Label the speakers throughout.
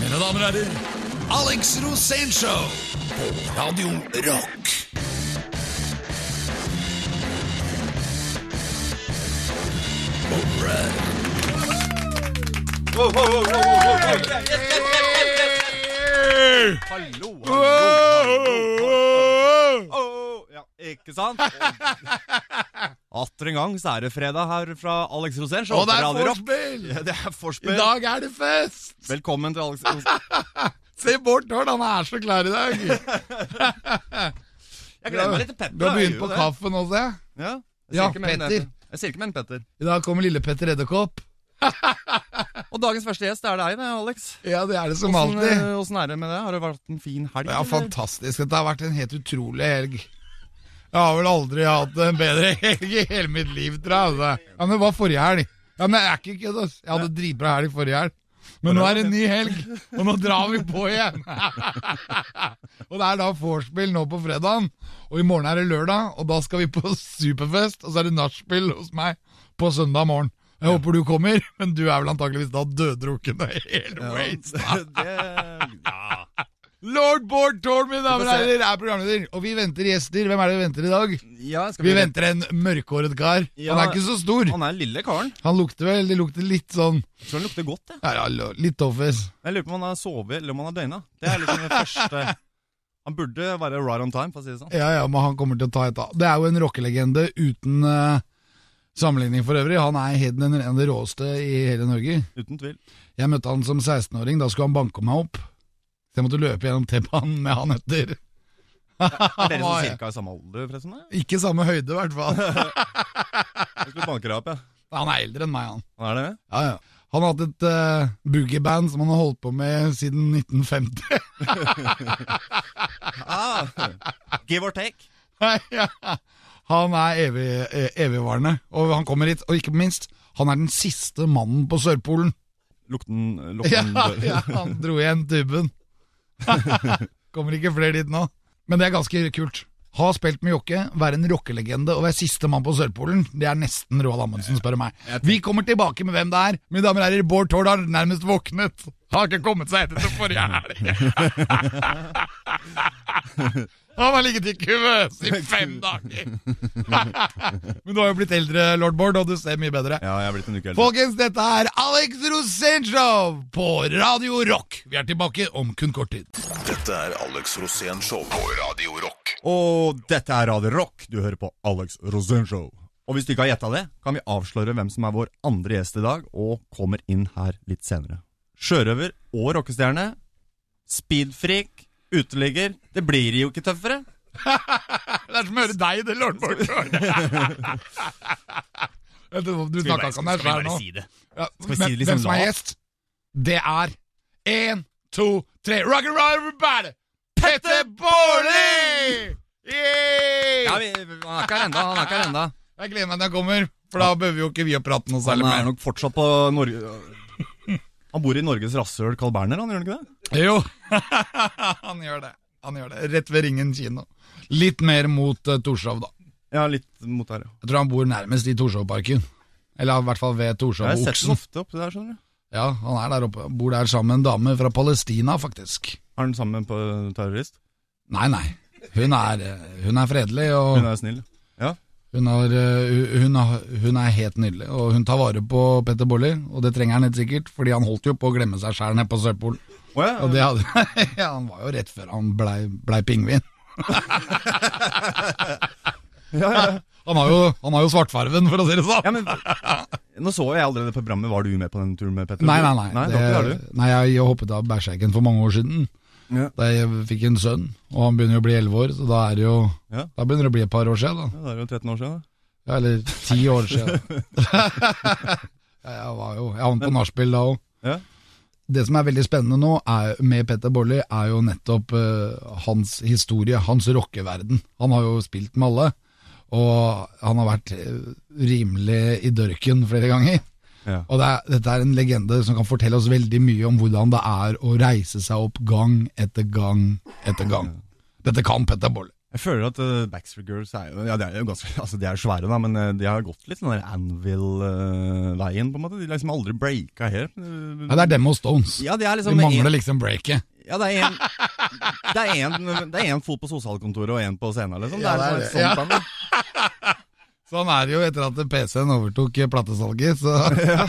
Speaker 1: Mine damer og herrer, Alex Rosénshow på Radio Rock.
Speaker 2: Hallo, hallo. Åh, Ja, ikke sant? Atter en gang så er det fredag her fra Alex Rosén.
Speaker 1: Og det er
Speaker 2: Radio Rock.
Speaker 1: vorspiel!
Speaker 2: Ja, det
Speaker 1: I
Speaker 2: er forspill.
Speaker 1: dag er det fest!
Speaker 2: Velkommen til Alex Rosén.
Speaker 1: Se Bård Tord, han er så klar i dag.
Speaker 2: Jeg gleder meg litt til Petter.
Speaker 1: Du har
Speaker 2: jeg
Speaker 1: begynt
Speaker 2: gjør
Speaker 1: på
Speaker 2: jo det.
Speaker 1: kaffen også, ja.
Speaker 2: Ja, jeg
Speaker 1: Ja,
Speaker 2: sier ikke mer enn
Speaker 1: Petter.
Speaker 2: det. Jeg sier ikke mer enn Petter.
Speaker 1: I dag kommer lille Petter Edderkopp.
Speaker 2: Og dagens første gjest er deg, det, Alex.
Speaker 1: Ja, det er det som
Speaker 2: Hvordan,
Speaker 1: alltid.
Speaker 2: eh, hvordan er det med det? Har det vært en fin helg?
Speaker 1: Ja,
Speaker 2: eller?
Speaker 1: fantastisk. Dette har vært en helt utrolig helg. Jeg har vel aldri hatt en bedre helg i hele mitt liv, tror jeg. Altså. Ja, men det var forrige helg. Ja, men jeg er ikke kødd, ass. Jeg hadde dritbra helg forrige helg. Men nå er det en ny helg, og nå drar vi på igjen. og det er da vorspiel nå på fredagen, og i morgen er det lørdag, og da skal vi på superfest, og så er det nachspiel hos meg på søndag morgen. Jeg håper du kommer, men du er vel antakeligvis da døddrukken og helt
Speaker 2: Ja,
Speaker 1: waste.
Speaker 2: det, ja.
Speaker 1: Lord Bård Tord, mine damer og
Speaker 2: Vi får se.
Speaker 1: herrer, er programleder. Og vi venter gjester. Hvem er det vi venter i dag?
Speaker 2: ja, skal
Speaker 1: Vi venter en mørkhåret kar.
Speaker 2: Ja.
Speaker 1: Han er ikke så stor.
Speaker 2: Han er lille karen.
Speaker 1: Han lukter vel Det lukter litt sånn
Speaker 2: Jeg tror han lukter godt, jeg.
Speaker 1: ja, ja, lo- Litt toffis.
Speaker 2: Jeg lurer på om han har sovet eller om han har døgna. Det er liksom det første Han burde være right on time, for å si det sånn.
Speaker 1: Ja, ja, men han kommer til å ta et av. Det er jo en rockelegende uten eh, sammenligning for øvrig. Han er helt den, en av de råeste i hele Norge.
Speaker 2: Uten tvil.
Speaker 1: Jeg møtte han som 16-åring. Da skulle han banke meg opp. Så jeg måtte løpe gjennom T-banen med han etter.
Speaker 2: Er
Speaker 1: var-
Speaker 2: dere som cirka i samme alder, forresten? da?
Speaker 1: Ikke samme høyde, i hvert fall.
Speaker 2: Jeg skulle banke deg opp, jeg.
Speaker 1: Han er eldre enn meg, han.
Speaker 2: Ja. Er det det?
Speaker 1: Ja, ja. Han har hatt et uh, boogieband som han har holdt på med siden 1950.
Speaker 2: Ah, give or take.
Speaker 1: ja. Han er evig, eh, evigvarende, og han kommer hit. Og ikke minst, han er den siste mannen på Sørpolen.
Speaker 2: Lukten,
Speaker 1: Ja,
Speaker 2: lukten dør.
Speaker 1: ja, han dro igjen tuben. kommer ikke flere dit nå. Men det er ganske kult. Ha spilt med Jokke, være en rockelegende og være siste mann på Sørpolen. Det er nesten Roald Amundsen, spør du meg. Vi kommer tilbake med hvem det er. Mine damer og herrer, Bård Tord har nærmest våknet. Har ikke kommet seg etter til forrige helg. Han har ligget i kuvøs i fem dager. Men du har jo blitt eldre, lord Bård, og du ser mye bedre.
Speaker 2: Ja, jeg er blitt en uke eldre.
Speaker 1: Folkens, dette er Alex Rosenshov på Radio Rock. Vi er tilbake om kun kort tid.
Speaker 3: Dette er Alex Rosén Show på Radio Rock.
Speaker 2: Og dette er Radio Rock. Du hører på Alex Rosén Show. Og hvis du ikke har gjetta det, kan vi avsløre hvem som er vår andre gjest i dag, og kommer inn her litt senere. Sjørøver og rockestjerne. Speedfreak. Uteligger. Det blir jo ikke tøffere.
Speaker 1: Det er som å høre deg, det, lord Bård. Vet du sånn hva, du snakka ikke altså om deg sjøl nå.
Speaker 2: det?
Speaker 1: Ja,
Speaker 2: vi si det
Speaker 1: men
Speaker 2: liksom
Speaker 1: Hvem som er
Speaker 2: lavt?
Speaker 1: gjest? Det er én, to, tre Rock and roll, everybody! Petter Bårdli!
Speaker 2: Ja,
Speaker 1: Yeah!
Speaker 2: vi, han er ikke her enda, han er ikke her enda.
Speaker 1: Jeg gleder meg til han kommer, for da behøver jo ikke vi å prate noe
Speaker 2: Han
Speaker 1: særlig
Speaker 2: er
Speaker 1: mer.
Speaker 2: nok fortsatt på Norge... Han bor i Norges rasshøl, Carl Berner, han gjør han ikke det?
Speaker 1: Jo, han gjør det. Han gjør det. Rett ved Ringen kino. Litt mer mot eh, Torshov, da.
Speaker 2: Ja, litt mot der, ja.
Speaker 1: Jeg tror han bor nærmest i Torshovparken. Eller i hvert fall ved Torshov
Speaker 2: Jeg har
Speaker 1: og
Speaker 2: sett
Speaker 1: Oksen.
Speaker 2: den ofte oppi der, skjønner du.
Speaker 1: Ja, han er der oppe. Bor der sammen med en dame fra Palestina, faktisk.
Speaker 2: Er han sammen på terrorist?
Speaker 1: Nei, nei. Hun er, eh, hun er fredelig,
Speaker 2: Hun
Speaker 1: og
Speaker 2: er snill. Ja.
Speaker 1: hun, har, eh, hu- hun, har, hun er helt nydelig. Og hun tar vare på Petter Boller, og det trenger han helt sikkert, fordi han holdt jo på å glemme seg sjæl nede på Sørpolen.
Speaker 2: Å ja,
Speaker 1: Og det hadde, ja, han var jo rett før han blei, blei pingvin.
Speaker 2: ja, ja.
Speaker 1: Han har, jo, han har jo svartfarven, for å si det sånn.
Speaker 2: ja, men Nå så jeg allerede på programmet. Var du med på den turen med Petter?
Speaker 1: Nei, nei, nei.
Speaker 2: nei
Speaker 1: det,
Speaker 2: det... har du.
Speaker 1: nei jeg hoppet av bæsjeggen for mange år siden.
Speaker 2: Ja.
Speaker 1: Da jeg fikk en sønn, og han begynner jo å bli 11 år, så da, er det jo,
Speaker 2: Ja.
Speaker 1: da begynner det å bli et par år siden. Da.
Speaker 2: Ja, det er jo 13 år siden. da.
Speaker 1: Ja, eller ti år siden. ja, jeg var jo Jeg havnet på nachspiel da òg.
Speaker 2: Ja.
Speaker 1: Det som er veldig spennende nå er, med Petter Bolli, er jo nettopp eh, hans historie, hans rockeverden. Han har jo spilt med alle, og han har vært eh, rimelig i dørken flere ganger.
Speaker 2: Ja.
Speaker 1: Og det er, dette er en legende som kan fortelle oss veldig mye om hvordan det er å reise seg opp gang etter gang etter gang. Dette kan Petter Bolle.
Speaker 2: Jeg føler at eh, Backstreet Girls er jo Ja, de er jo ganske Altså, de er svære, da, men eh, de har gått litt den der Anvil-veien, på en måte. De har liksom aldri breaka helt. Eh,
Speaker 1: Ja, det er dem og Stones.
Speaker 2: Ja, det er
Speaker 1: De
Speaker 2: liksom
Speaker 1: mangler liksom breaket.
Speaker 2: Ja, det er en Det er en, det er en fot på sosialkontoret og en på scenen, liksom.
Speaker 1: Ja,
Speaker 2: det er,
Speaker 1: det er det.
Speaker 2: liksom et sånt band, da.
Speaker 1: Sånn er det jo etter at PC-en overtok eh, platesalget, så,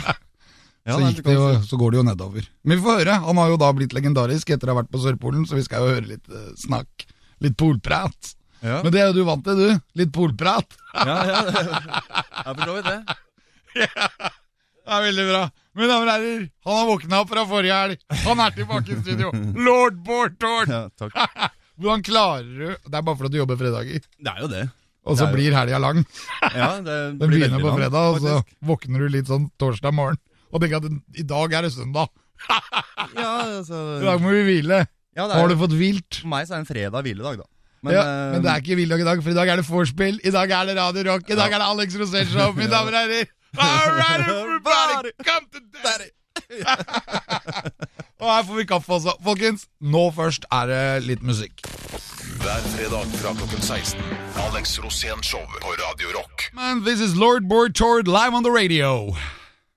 Speaker 1: så,
Speaker 2: Ja, det er
Speaker 1: gikk det jo, så går det jo nedover. Men vi får høre. Han har jo da blitt legendarisk etter å ha vært på Sørpolen, så vi skal jo høre litt eh, snakk. Litt polprat.
Speaker 2: Ja,
Speaker 1: Men det er jo du vant til, du. Litt polprat.
Speaker 2: ja, ja. Jeg forstår jo det.
Speaker 1: Det er veldig bra. Mine damer og herrer, han har våkna opp fra forrige helg. Han er tilbake i studio. Lord Bård Tord!
Speaker 2: Ja, takk.
Speaker 1: Hvordan klarer du Det er bare fordi du jobber fredager,
Speaker 2: Det er jo det.
Speaker 1: og så
Speaker 2: Det er jo-
Speaker 1: blir helga lang.
Speaker 2: Ja, det
Speaker 1: Den
Speaker 2: blir
Speaker 1: begynner
Speaker 2: veldig
Speaker 1: på
Speaker 2: langt,
Speaker 1: fredag, altså. og så
Speaker 2: faktisk.
Speaker 1: våkner du litt sånn torsdag morgen og tenker at i dag er det søndag.
Speaker 2: Ja, altså
Speaker 1: I dag må vi hvile.
Speaker 2: ja, det er,
Speaker 1: Har du fått vilt?
Speaker 2: For meg så er det en fredag hviledag, da.
Speaker 1: Men, ja,
Speaker 2: eh,
Speaker 1: men det er ikke Villog i dag, for i dag er det vorspiel, i dag er det Radio Rock, i dag er det Alex Rosén Show, mine damer og herrer. All right, everybody, come to daddy! og her får vi kaffe også. Folkens, nå først er det litt musikk.
Speaker 3: Hver fredag fra klokken 16. Alex Rosén Show på Radio Rock.
Speaker 1: Men this is Lord Bård Tord live on the radio.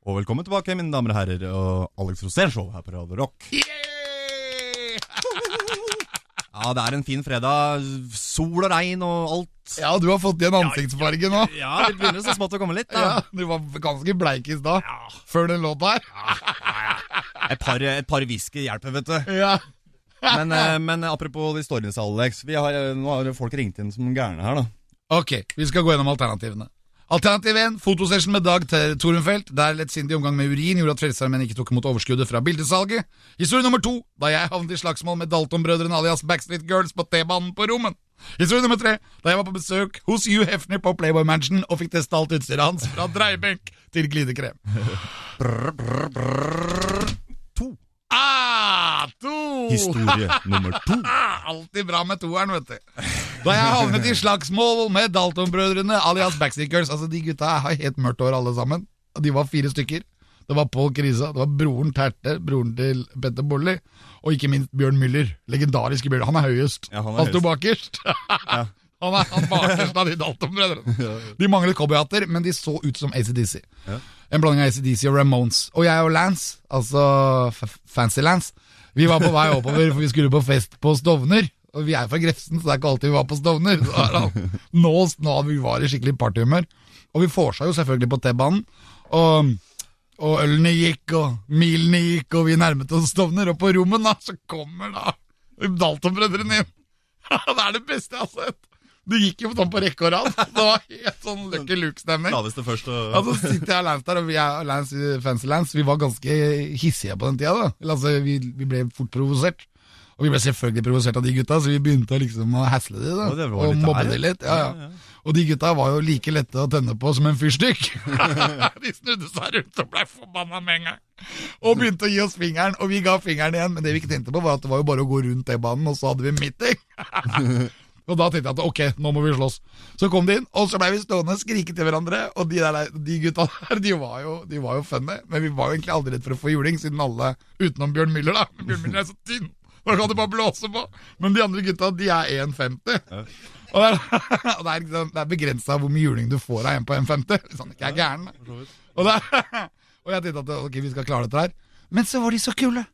Speaker 2: Og velkommen tilbake, mine damer og herrer, og Alex Rosén Show her på Radio Rock.
Speaker 1: Yeah!
Speaker 2: Ja, det er en fin fredag. Sol og regn og alt.
Speaker 1: Ja, du har fått igjen ansiktsfarge nå.
Speaker 2: Ja, det begynner så smått å komme litt,
Speaker 1: Ja,
Speaker 2: da.
Speaker 1: du var ganske bleik i stad, før den låta her.
Speaker 2: Et par, et par whisky hjelper, vet du.
Speaker 1: Ja.
Speaker 2: Men, eh, men apropos de storyene, Alex. Vi har, eh, nå har folk ringt inn som gærne her, da.
Speaker 1: Ok, vi skal gå gjennom alternativene. Alternativ 1, fotosession med Dag Ter- Torunfeldt, der lettsindig omgang med urin gjorde at Frelsesarmeen ikke tok imot overskuddet fra bildesalget. Historie nummer to, da jeg havnet i slagsmål med Dalton-brødrene alias Backstreet Girls på T-banen på Rommen. Historie nummer tre, da jeg var på besøk hos Hugh Hefner på Playboy Mansion og fikk testa alt utstyret hans fra dreiebenk til glidekrem.
Speaker 2: To.
Speaker 1: Ah, to!
Speaker 2: Historie nummer to.
Speaker 1: Alltid bra med toeren, vet du. Da jeg havnet i slagsmål med Dalton-brødrene alias Backstickers Altså, de gutta har helt mørkt hår, alle sammen. Og De var fire stykker. Det var Pål Krisa, det var broren Terte, broren til Petter Bolli, og ikke minst Bjørn Müller. Legendariske Bjørn. Han er høyest.
Speaker 2: Ja, han er
Speaker 1: sto bakerst. Han er han bakerst av de Dalton-brødrene. De manglet cowboyhatter, men de så ut som ACDC. En blanding av ACDC og Ramones. Og jeg og Lance, altså f- Fancy Lance, vi var på vei oppover, for vi skulle på fest på Stovner. Og vi er fra Grefsen, så det er ikke alltid vi var på Stovner. Så er det- Nå, nå vi var i skikkelig partyhumør. Og vi forsa jo selvfølgelig på T-banen. Og, og ølene gikk, og milene gikk, og vi nærmet oss Stovner. Og på rommet da, så kommer da Dalton-brødrene inn. det er det beste jeg har sett. Det gikk jo sånn på rekke og rad. Det var helt sånn Lucky Luke-stemning.
Speaker 2: Laveste først og
Speaker 1: Ja, så sitter jeg og Lance der, og vi er og Lance, Fancy Lance, vi var ganske hissige på den tida da. Eller, altså, vi, vi ble fort provosert. Og vi ble selvfølgelig provosert av de gutta, så vi begynte å liksom å hasle de da.
Speaker 2: Og det var
Speaker 1: og
Speaker 2: litt
Speaker 1: mobbe
Speaker 2: der,
Speaker 1: de litt. Ja, ja. Og de gutta var jo like lette å tenne på som en fyrstikk. de snudde seg rundt og ble forbanna med en gang. Og begynte å gi oss fingeren, og vi ga fingeren igjen. Men det vi ikke tenkte på var at det var jo bare å gå rundt T-banen, og så hadde vi meeting. Og da tenkte jeg at ok, nå må vi slåss. Så kom de inn, og så blei vi stående og skrike til hverandre. Og de, der, de gutta der, de var, jo, de var jo funny, men vi var jo egentlig aldri redd for å få juling, siden alle utenom Bjørn Müller, da. Men Bjørn Müller er så tynn, da kan du bare blåse på. Men de andre gutta, de er 1,50. Og det er, og det er, ikke sant, det er begrensa hvor mye juling du får av en på 1,50. Hvis han ikke er gæren. da. Og, det, og jeg tenkte at ok, vi skal klare dette her. Men så var de så kule.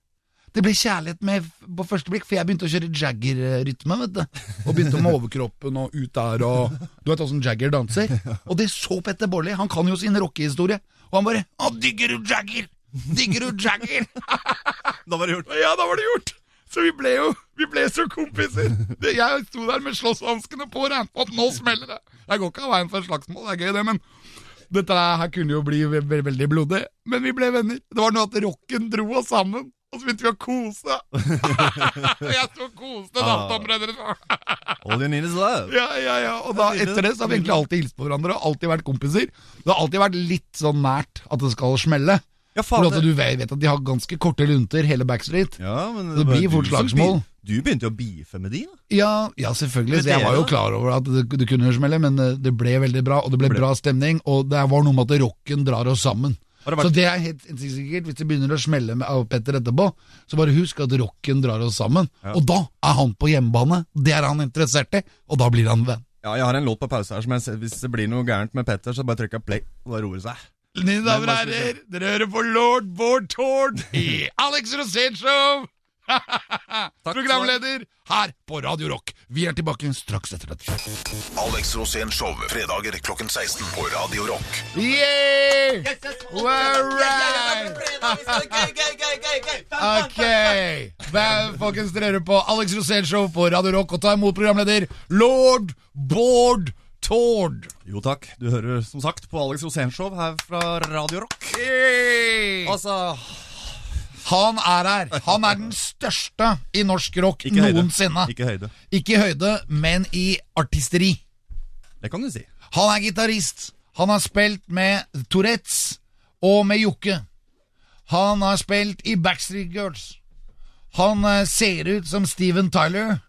Speaker 1: Det ble kjærlighet med på første blikk, for jeg begynte å kjøre Jagger-rytme, vet du. Og begynte med overkroppen og ut der og Du vet åssen Jagger danser? Og det så Petter Borli, han kan jo sin rockehistorie. Og han bare Å, digger du Jagger? Digger du Jagger?
Speaker 2: Da var det gjort.
Speaker 1: Og Ja, da var det gjort! Så vi ble jo vi ble så kompiser. Det- Jeg sto der med slåsshanskene på og regnet med at nå smeller det. Jeg går ikke av veien for et slagsmål, det er gøy det, men dette her kunne jo bli ve ve veldig blodig. Men vi ble venner. Det var noe at rocken dro oss sammen, og så begynte vi å kose. Og jeg sto og koste Dalton-brødrene.
Speaker 2: All you need is love.
Speaker 1: Ja, ja, ja. Og da, etter det så har vi egentlig alltid hilst på hverandre og alltid vært kompiser. Det har alltid vært litt sånn nært at det skal smelle.
Speaker 2: Ja,
Speaker 1: For
Speaker 2: faen,
Speaker 1: at du vet at de har ganske korte lunter, hele Backstreet.
Speaker 2: Ja, men
Speaker 1: Det
Speaker 2: var
Speaker 1: blir fort
Speaker 2: du som
Speaker 1: slagsmål.
Speaker 2: be- Du begynte jo å beefe med de, da.
Speaker 1: Ja, ja selvfølgelig. Så
Speaker 2: Men
Speaker 1: jeg
Speaker 2: dere
Speaker 1: var jo
Speaker 2: da?
Speaker 1: klar over at det, det kunne smelle, men eh, det ble veldig bra, og det ble,
Speaker 2: Ble-
Speaker 1: bra stemning. Og det var noe med at rocken drar oss sammen.
Speaker 2: Har det vært-
Speaker 1: Så det er helt helt sikkert. Hvis det begynner å smelle med av Petter etterpå, så bare husk at rocken drar oss sammen.
Speaker 2: Ja.
Speaker 1: Og da er han på hjemmebane. Det er han interessert i, og da blir han venn.
Speaker 2: Ja, jeg har en låt på pause her som jeg, ser- hvis det blir noe gærent med Petter, så bare trykker jeg play, og da roer det seg.
Speaker 1: Mine
Speaker 2: damer
Speaker 1: damer
Speaker 2: og
Speaker 1: og
Speaker 2: herrer,
Speaker 1: herrer, dere hører på lord Bård Tord i Alex Rosén Show!
Speaker 2: Programleder
Speaker 1: Programleder her på Radio Rock. Vi er tilbake straks etter dette.
Speaker 3: Alex Rosén Show, fredager klokken 16 på Radio Rock.
Speaker 1: Yeah!
Speaker 4: All right.
Speaker 1: Ok, Hva- folkens dere hører på Alex Rosén Show på Radio Rock Og ta imot programleder Lord Bård Tord
Speaker 2: Jo takk, du hører som sagt på Alex Rosénshow her fra Radio Rock. Altså,
Speaker 1: Han er her, han er den største i norsk rock
Speaker 2: Ikke høyde.
Speaker 1: noensinne
Speaker 2: ikke høyde.
Speaker 1: Ikke i høyde, men i artisteri
Speaker 2: Det kan du si.
Speaker 1: Han er gitarist. Han har spilt med Tourettes og med Jokke. Han har spilt i Backstreet Girls. Han eh, ser ut som Steven Tyler,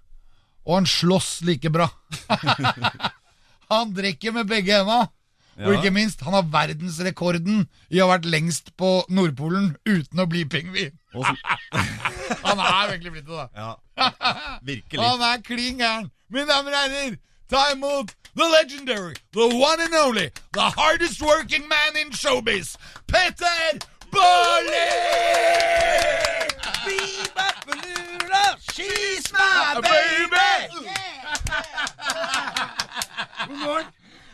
Speaker 1: og han slåss like bra. han drikker med begge henda. Og
Speaker 2: Ja.
Speaker 1: ikke minst, han har verdensrekorden i å ha vært lengst på Nordpolen uten å bli pingvin.
Speaker 2: Og så,
Speaker 1: Han er virkelig blitt det, da.
Speaker 2: ja, virkelig.
Speaker 1: Han er klin gæren. Mine damer og herrer, ta imot the legendary, the one and only, the hardest working man in showbiz, Petter Bårli!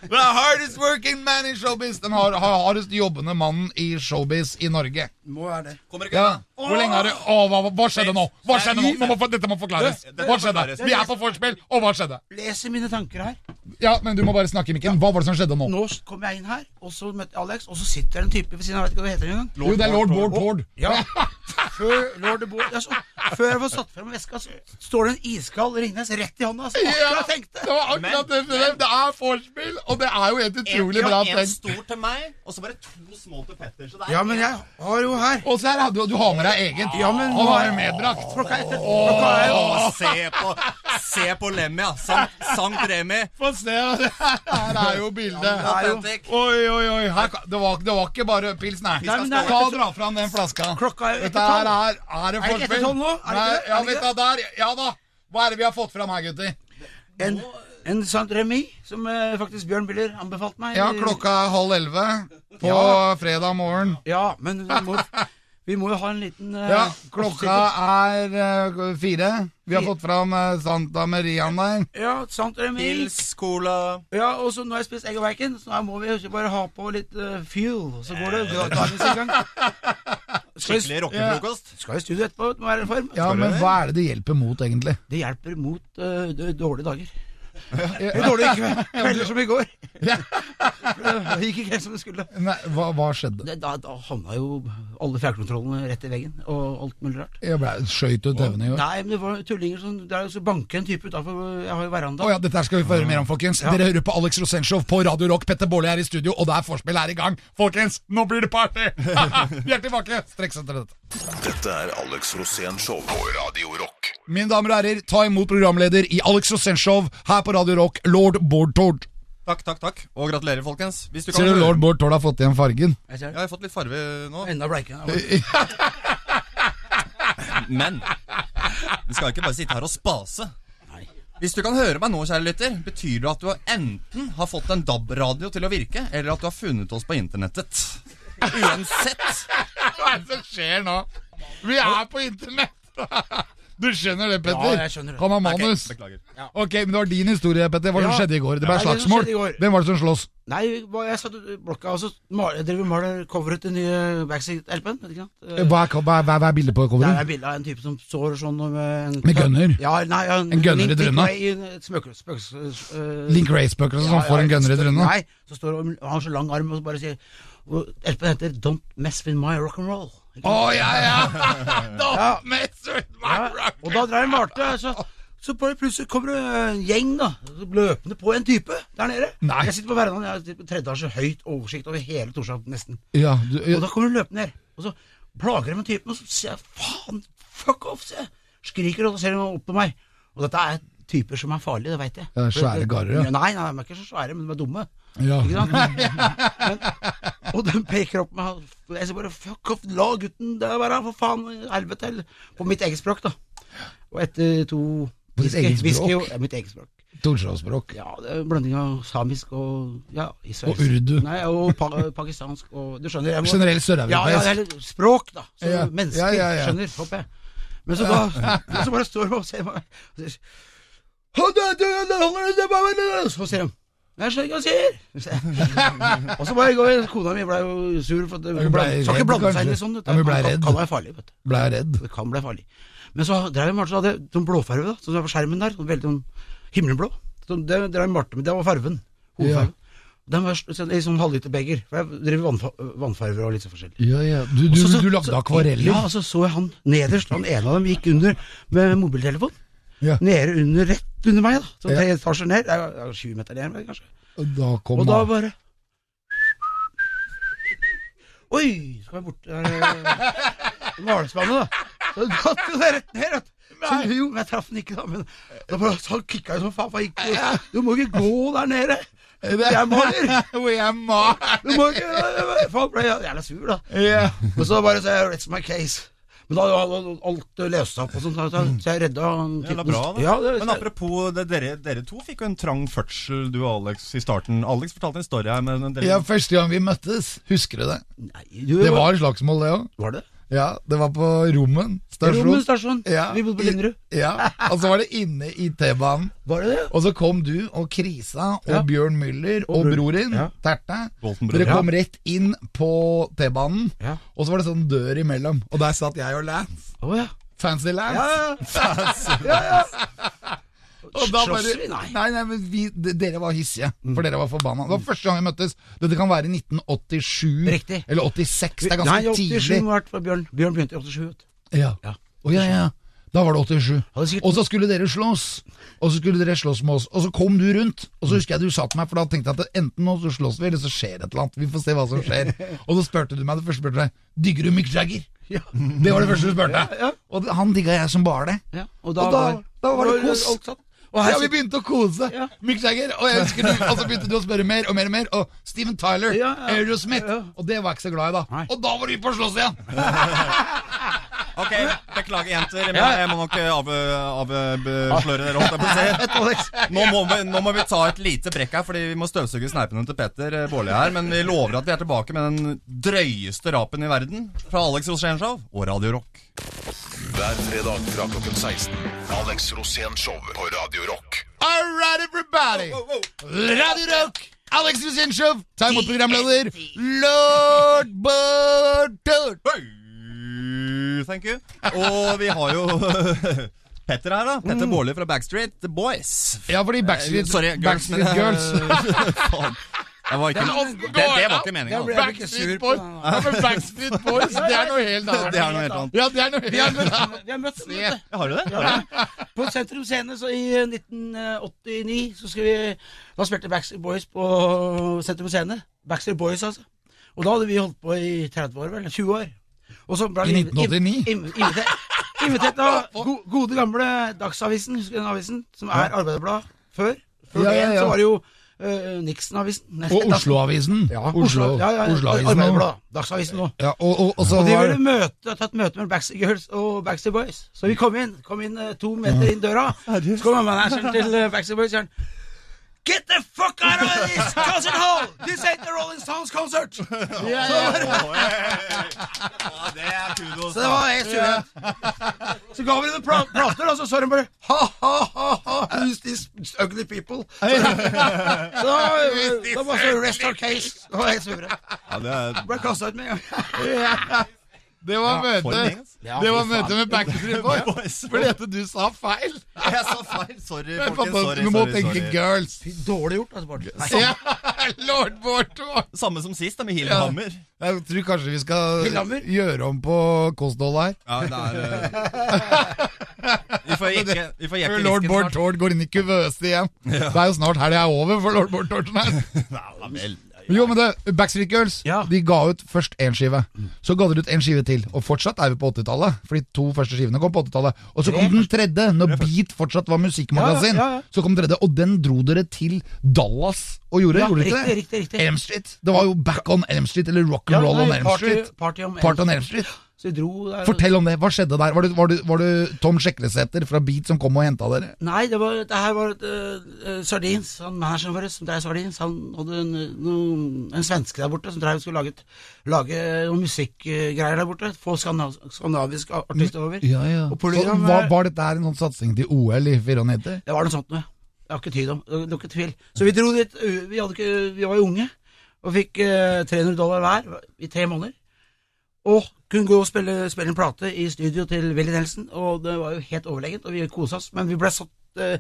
Speaker 1: The hardest working man in showbiz. Den har, har hardest jobbende mannen i showbiz i Norge.
Speaker 4: Må være det.
Speaker 1: Ja. Hvor lenge har du Å, hva, hva skjedde nå? Hva skjedde nå? nå må, få- dette må forklares. Hva skjedde? Vi er på vorspiel, og hva skjedde?
Speaker 4: Leser mine tanker her.
Speaker 1: Ja, men du må bare snakke i mikken. Hva var det som skjedde nå?
Speaker 4: Nå kom jeg inn her, og så møtte jeg Alex, og så sitter det en type ved siden av, jeg vet ikke hva det heter engang.
Speaker 1: Jo, det er lord Bård Tord.
Speaker 4: Ja. Før, Lord de Boer, altså, før jeg får satt frem veska, så står det en iskald Ringnes rett i hånda. Altså, akkurat jeg
Speaker 1: det
Speaker 4: tenkte.
Speaker 1: var akkurat det. Det det er vorspiel, og det er jo helt utrolig bra tenkt.
Speaker 2: stor til meg, og så bare to små til Petter. Så det
Speaker 4: Ja, men jeg har jo her.
Speaker 1: Og så her, har du, du har med deg eget.
Speaker 4: Ja, men
Speaker 1: Han
Speaker 4: nå
Speaker 1: har
Speaker 4: er-
Speaker 1: jo medbrakt.
Speaker 4: Klokka er etter. Klokka er
Speaker 2: Å, se på, se på Lemmy, ja. Sankt, Sankt Remi.
Speaker 1: Få se, det her er jo bildet.
Speaker 4: er jo-
Speaker 2: Authentic.
Speaker 1: Oi, oi, oi. Her, ka- det, var, det var ikke bare pils, nei.
Speaker 4: Nei, men det er-
Speaker 1: Ta og Dra fram den flaska.
Speaker 4: Klokka er jo
Speaker 1: Dette
Speaker 4: etter
Speaker 1: her
Speaker 4: tolv.
Speaker 1: er, er det
Speaker 4: Er det ikke etter
Speaker 1: vorspiel.
Speaker 4: tolv nå? Er det
Speaker 1: Nei,
Speaker 4: ikke det?
Speaker 1: Ja,
Speaker 4: Er det
Speaker 1: vet
Speaker 4: ikke
Speaker 1: du, der. Ja da. Hva er det vi har fått fram her, gutter?
Speaker 4: En, en Sant Remi, som eh, faktisk Bjørn Biller anbefalte meg.
Speaker 1: Ja, klokka er halv elleve på
Speaker 4: Ja.
Speaker 1: fredag morgen.
Speaker 4: Ja, men vi må, vi må jo ha en liten eh,
Speaker 1: Ja, klokka er eh, fire. Vi har
Speaker 4: Fire.
Speaker 1: fått fram eh, Santa Marian der.
Speaker 4: Ja, Sant Remi.
Speaker 2: Pils, cola
Speaker 4: Ja, og så nå har jeg spist egg og bacon, så nå må vi bare ha på litt eh, fuel, så går det dagens i gang. Skal vi,
Speaker 2: Skikkelig rockefrokost.
Speaker 4: skal i studio etterpå, må være i form.
Speaker 1: Ja, men hva er det det hjelper mot, egentlig?
Speaker 4: Det hjelper mot eh, d- dårlige dager. Eller dårlige kve- kvelder som i går. Det gikk ikke helt som det skulle.
Speaker 1: Nei, hva, hva skjedde?
Speaker 4: Det, da, da havna jo alle fjernkontrollene rett i veggen, og alt mulig rart.
Speaker 1: Jeg ble skøyt ut øvende i år.
Speaker 4: Nei, men det var tullinger som Det er jo så banke en type utafor Jeg har jo veranda.
Speaker 1: Å ja, dette her skal vi få høre mer om, folkens. Dere hører på Alex Rosenshov på Radio Rock. Petter Baarli er i studio, og det er vorspiel her i gang. Folkens, nå blir det party! vi er tilbake streks etter dette.
Speaker 3: Dette er Alex Rosén Show på Radio Rock.
Speaker 1: Mine damer og herrer, ta imot programleder i Alex Rosenshov her på Radio Rock, lord Bård Tord.
Speaker 2: Takk, takk, takk. Og gratulerer, folkens. Hvis du kan
Speaker 1: Ser du
Speaker 2: høre-
Speaker 1: lord Bård Tord har fått igjen fargen?
Speaker 4: Jeg ser
Speaker 2: Ja,
Speaker 4: det.
Speaker 2: Jeg har fått litt farve nå.
Speaker 4: Enda bleikere. enn jeg var.
Speaker 2: Men du skal ikke bare sitte her og spase.
Speaker 4: Nei.
Speaker 2: Hvis du kan høre meg nå, kjære lytter, betyr det at du har enten har fått en DAB-radio til å virke, eller at du har funnet oss på internettet. Uansett.
Speaker 1: Hva er det som skjer nå? Vi er på internett! Du skjønner det, Petter?
Speaker 4: Ja, jeg skjønner det.
Speaker 1: Han har
Speaker 2: Ok,
Speaker 1: manus.
Speaker 2: beklager.
Speaker 1: Ok, men det var din historie, Petter. Hva
Speaker 4: Ja.
Speaker 1: som skjedde i går? Det ble
Speaker 4: Ja, det som
Speaker 1: slagsmål.
Speaker 4: skjedde i går.
Speaker 1: Hvem var det som sloss?
Speaker 4: Nei, hva- jeg satt ute i blokka og så mal- jeg driver og maler coveret til nye Backseat-LP-en. vet du ikke sant? Eh,
Speaker 1: Hva er, hva er, hva er- hva er bildet på
Speaker 4: Der er
Speaker 1: coveret?
Speaker 4: bilde av en type som står sånn og med en
Speaker 1: Med gunner?
Speaker 4: Ja, nei, ja,
Speaker 1: En gunner i drønna?
Speaker 4: Smøker, spøks, eh,
Speaker 1: Link Race-spøkelset som
Speaker 4: ja,
Speaker 1: får en
Speaker 4: ja,
Speaker 1: gunner i
Speaker 4: så-
Speaker 1: trynet?
Speaker 4: Nei, så står han og har så lang arm og så bare sier og LP-en heter Don't Mess With My Rock'n'Roll. Ikke sant?
Speaker 1: Å ja, ja! Don't mess with my
Speaker 4: Ja,
Speaker 1: rock.
Speaker 4: og da drar han malte, så, så bare plutselig kommer det en gjeng da, løpende på en type der nede.
Speaker 1: Nei.
Speaker 4: Jeg sitter på verandaen, jeg sitter på tredje etasje, høyt oversikt over hele Torshov nesten.
Speaker 1: Ja, du,
Speaker 4: Og da kommer hun løpende ned, og så plager hun med typen, og så sier jeg faen, fuck off, sier jeg. Skriker, og så ser hun opp på meg. Og dette er typer som er farlige, det veit jeg.
Speaker 1: Ja, svære garer, ja.
Speaker 4: Nei, nei, de er ikke så svære, men de er dumme.
Speaker 1: Ja.
Speaker 4: Ikke sant? Men, og den peker opp med han- Jeg sier bare 'fuck off, la gutten der være, for faen, helvete', eller På mitt eget språk, da. Og etter to
Speaker 1: På ditt eget
Speaker 4: whisky-
Speaker 1: språk?
Speaker 4: whisky- Ja, mitt eget språk.
Speaker 1: Torsdalsspråk.
Speaker 4: Ja, det er en blanding av samisk og ja, israelsk.
Speaker 1: Og urdu.
Speaker 4: Nei, og pa pakistansk og Du skjønner? Jeg må,
Speaker 1: Generelt
Speaker 4: ja, ja,
Speaker 1: søreuropeisk.
Speaker 4: eller språk, da. Så
Speaker 1: Ja.
Speaker 4: mennesker
Speaker 1: Ja, ja, ja.
Speaker 4: skjønner, håper jeg. Men så da men Så bare står de og ser meg og sier «Hold deg til det, hold deg til det!» Så sier de jeg skjønner ikke hva han sier! Og så bare går Kona mi ble jo sur, for at
Speaker 1: Hun
Speaker 4: hun
Speaker 1: ble
Speaker 4: blande- skal ikke
Speaker 1: redd,
Speaker 4: blande seg inn i
Speaker 1: kanskje.
Speaker 4: sånn. vet du.
Speaker 1: Ja, men hun ble
Speaker 4: Det
Speaker 1: redd.
Speaker 4: kan være farlig, vet du.
Speaker 1: Ble jeg redd.
Speaker 4: Det kan bli farlig. Men så drev Marte hadde sånn blåfarge, da, som var på skjermen der, sånn veldig sånn himmelblå. Så det drev Marte med, det var farven. Hovedfarven. Den var sånn, i sånn halvliterbeger, for jeg driver vannfa vannfarver og litt så forskjellig.
Speaker 1: Ja, ja. Du, du,
Speaker 4: Og så- så-
Speaker 1: du lagde
Speaker 4: så-
Speaker 1: akvareller?
Speaker 4: Ja, og så så jeg han nederst, han ene av dem gikk under med mobiltelefon.
Speaker 1: Ja.
Speaker 4: Nede under, rett under meg, da. Så
Speaker 1: Ja.
Speaker 4: tre etasjer ned, jeg var 20 meter ned, men kanskje.
Speaker 1: Og da kom
Speaker 4: Og da
Speaker 1: han.
Speaker 4: bare Oi, skal jeg bort der Hvalspannet, da. Så datt jo det rett ned. Vet. du. Så, jo, men jeg traff den ikke, da. Men da bare, så kikka jeg som faen. for jeg gikk- Du må ikke gå der nede! Jeg maler!
Speaker 1: Hvor jeg maler!
Speaker 4: Du må ikke Faen, ble jeg jævla sur, da.
Speaker 1: Ja.
Speaker 4: Og så bare sa jeg 'It's my case'. Men da hadde alt løst seg opp, og sånt, så- så så jeg redda han
Speaker 2: Jævla
Speaker 4: typen.
Speaker 2: bra, da.
Speaker 4: Ja, det,
Speaker 2: Men apropos, det, dere, dere to fikk jo en trang fødsel, du og Alex, i starten. Alex fortalte en story her, men dere
Speaker 1: ja, første gang vi møttes, husker du det?
Speaker 4: Nei, du,
Speaker 1: Det var slagsmål, det òg.
Speaker 4: Var det?
Speaker 1: Ja, det var på Rommen stasjon.
Speaker 4: Rommen stasjon.
Speaker 1: Ja.
Speaker 4: Vi bodde på Linderud.
Speaker 1: Ja, og så var det inne i T-banen.
Speaker 4: Var det det?
Speaker 1: Og så kom du og Krisa og
Speaker 4: Ja.
Speaker 1: Bjørn Müller og,
Speaker 4: Bror.
Speaker 1: bror din,
Speaker 4: Ja.
Speaker 1: Terte.
Speaker 2: Boltenbrød.
Speaker 1: Dere kom rett inn på T-banen,
Speaker 4: Ja.
Speaker 1: og så var det sånn dør imellom. Og der satt jeg og Lance.
Speaker 4: Å ja.
Speaker 1: Fancy Lance.
Speaker 4: Ja,
Speaker 1: Og da bare,
Speaker 4: Slåss vi? Nei. Mm.
Speaker 1: Nei, nei, men vi, d- dere var hissige, for dere var forbanna. Det var første gang vi møttes. Dette kan være i 1987
Speaker 4: Riktig.
Speaker 1: eller 86. Det er
Speaker 4: Nei,
Speaker 1: ganske
Speaker 4: 87
Speaker 1: tidlig.
Speaker 4: må ha vært for Bjørn. Bjørn begynte i 87. vet du.
Speaker 1: Ja.
Speaker 4: Ja.
Speaker 1: Å, ja, ja. Da var det 87.
Speaker 4: Ja, det er sikkert-
Speaker 1: Og så skulle dere slåss. Og så skulle dere slåss med oss. Og så kom du rundt. Og
Speaker 4: Mm.
Speaker 1: så husker jeg du sa til meg, for da tenkte jeg at enten nå så slåss vi, eller så skjer et eller annet. Vi får se hva som skjer. Og så spurte du meg, det første spurte jeg, digger du Mick Jagger?
Speaker 4: Ja.
Speaker 1: Det var det første du spurte.
Speaker 4: ja.
Speaker 1: Og det- han digga jeg som bare det.
Speaker 4: Ja, og da,
Speaker 1: Og da-
Speaker 4: var,
Speaker 1: da var det kos.
Speaker 4: alt satt. Og her
Speaker 1: ja, vi
Speaker 4: sitter-
Speaker 1: begynte å kose.
Speaker 4: Ja.
Speaker 1: Mick Jagger. Og, jeg husker du, og så begynte du å spørre mer og mer og mer. Og Steven Tyler,
Speaker 4: Ja, ja.
Speaker 1: Aerosmith.
Speaker 4: Ja.
Speaker 1: Og det var jeg ikke så glad i da.
Speaker 4: Nei.
Speaker 1: Og da var vi på å slåss igjen!
Speaker 2: Ok, beklager jenter, men jeg må nok eh, avsløre dere, holdt jeg på å si.
Speaker 4: Et Alex.
Speaker 2: Nå må, vi, nå må vi ta et lite brekk her, fordi vi må støvsuge sneipene til Petter eh, Baarli her. Men vi lover at vi er tilbake med den drøyeste rapen i verden fra Alex Rosénshow og Radio Rock.
Speaker 3: Hver fredag fra klokken 16. Alex Rosén-show på Radio Rock.
Speaker 1: All right, everybody! Radio Rock! Alex Rosenshov, ta imot programleder Lord Bartort.
Speaker 2: Bøy, Thank you. Og vi har jo Petter her, da. Petter
Speaker 4: Mm.
Speaker 2: Baarli fra Backstreet The Boys.
Speaker 1: Ja, fordi
Speaker 2: Eh,
Speaker 1: Backstreet,
Speaker 2: Sorry, Girls. men-
Speaker 1: Backstreet
Speaker 2: eh,
Speaker 1: Girls
Speaker 2: Faen. Det var ikke, det, det var ikke meninga.
Speaker 4: ble-
Speaker 2: altså.
Speaker 4: jeg ikke sur
Speaker 1: Backstreet
Speaker 4: på
Speaker 1: Boys, ja, men Backstreet Boys
Speaker 4: den, da.
Speaker 1: det er noe helt
Speaker 2: Det
Speaker 1: annet.
Speaker 2: er noe helt annet.
Speaker 1: Ja, det er noe
Speaker 4: Vi har
Speaker 1: helt
Speaker 4: møtt,
Speaker 1: annet.
Speaker 4: vi har møtt
Speaker 1: Se.
Speaker 4: vet du.
Speaker 2: Har du det? Har du det?
Speaker 4: På Sentrum Scene så i 1989 så skal vi Da spilte Backstreet Boys på Sentrum Scene. Backstreet Boys, altså. Og da hadde vi holdt på i 30 år, vel? 20 år. Og så ble
Speaker 1: I
Speaker 4: vi
Speaker 1: 1989?
Speaker 4: inv- inv- invitert- Invitert av go gode, gamle Dagsavisen, husker du den avisen? Som er Arbeiderbladet før. Før
Speaker 1: Ja, ja,
Speaker 4: det
Speaker 1: ja.
Speaker 4: så var det jo eh, Nixon-avisen. Nei,
Speaker 1: Og
Speaker 4: da-
Speaker 1: Osloavisen.
Speaker 4: Ja,
Speaker 1: Oslo,
Speaker 4: ja, ja,
Speaker 1: Osloavisen. også.
Speaker 4: Arbeiderbladet. Dagsavisen nå.
Speaker 1: Ja, og, og, og så
Speaker 4: Og de
Speaker 1: var
Speaker 4: ville møte, tatt møte med Backstreet Girls og Backstreet Boys. Så vi kom inn kom inn eh, to meter inn døra. Så kom manageren til eh, Backstreet Boys og sier han, Get the fuck out of this concert hall! This ain't the Rolling Stones concert! Så det
Speaker 2: Oi. Ja, det er kudos. da.
Speaker 4: var helt suverent. Så ga vi dem pla- plater, og så så de bare Ha-ha-ha! Who's these ugly people? Så, så da, da var så rest our case. Det var helt suverent.
Speaker 2: Ja, det er
Speaker 4: Ble kasta ut med en gang.
Speaker 1: Det var
Speaker 2: for en gjeng,
Speaker 1: møte
Speaker 2: altså.
Speaker 1: Det var møte med Backstreet Boys.
Speaker 2: Boys.
Speaker 1: Fordi at du sa feil.
Speaker 2: Jeg sa feil. Sorry,
Speaker 1: Det er
Speaker 2: folkens. Sorry,
Speaker 1: fantastisk. Du må
Speaker 2: sorry,
Speaker 1: tenke
Speaker 2: sorry.
Speaker 1: girls.
Speaker 4: Dårlig gjort, altså, Bård. Nei.
Speaker 1: Ja, Lord Bartort.
Speaker 2: Samme som sist, da,
Speaker 1: Ja.
Speaker 2: med Hillehammer.
Speaker 1: Jeg tror kanskje vi skal
Speaker 4: Lillehammer?
Speaker 1: gjøre om på kostholdet her.
Speaker 2: Ja, det er eh, Vi får jekke vi får jekke
Speaker 1: Lord
Speaker 2: risken
Speaker 1: Bård
Speaker 2: snart.
Speaker 1: Tord går inn i kuvøse igjen. Det er jo snart helga er over for lord Bård Tordsen her.
Speaker 2: Ja vel.
Speaker 1: Jo, men det, Backstreet Girls
Speaker 4: Ja.
Speaker 1: De ga ut først én skive. Så ga de ut én skive til. Og fortsatt er vi på 80-tallet. Fordi to første skivene kom på 80-tallet. Og så kom den tredje, når Beat fortsatt var musikkmagasin.
Speaker 4: Ja, ja, ja, ja.
Speaker 1: Så kom den tredje, og den dro dere til Dallas og gjorde.
Speaker 4: Ja,
Speaker 1: gjorde dere
Speaker 4: riktig,
Speaker 1: ikke det?
Speaker 4: riktig, riktig.
Speaker 1: Elm Street. Det var jo Back on Elm Street, eller Rock and
Speaker 4: Ja,
Speaker 1: Roll on
Speaker 4: nei,
Speaker 1: Elm
Speaker 4: party-
Speaker 1: Street.
Speaker 4: Party on Elm
Speaker 1: Part on Elm Street.
Speaker 4: Så vi dro der.
Speaker 1: Fortell om det. Hva skjedde der? Var det, var det, var det Tom Sjeklesæter fra Beat som kom og henta dere?
Speaker 4: Nei, det, var, det her var et, eh, eh, Sardins, han manageren vår som drev Sardins, han hadde en, eh, noen, en svenske der borte som drev og skulle lage, et- lage noen musikkgreier der borte. Få skandinav, skandinaviske artister over. Og
Speaker 1: Så,
Speaker 4: Polygram,
Speaker 1: var,
Speaker 4: eh,
Speaker 1: var dette her en sånn satsing til OL i 94?
Speaker 4: Det var noe sånt noe. Det har ikke tid om. Det er ikke tvil. Så vi dro dit. ø, Vi, hadde ikke, vi var jo unge og fikk eh, 300 dollar hver i tre måneder. Og kunne gå og spille, spille en plate i studio til Willy Nelson, og det var jo helt overlegent, og vi kosa oss. Men vi ble satt eh,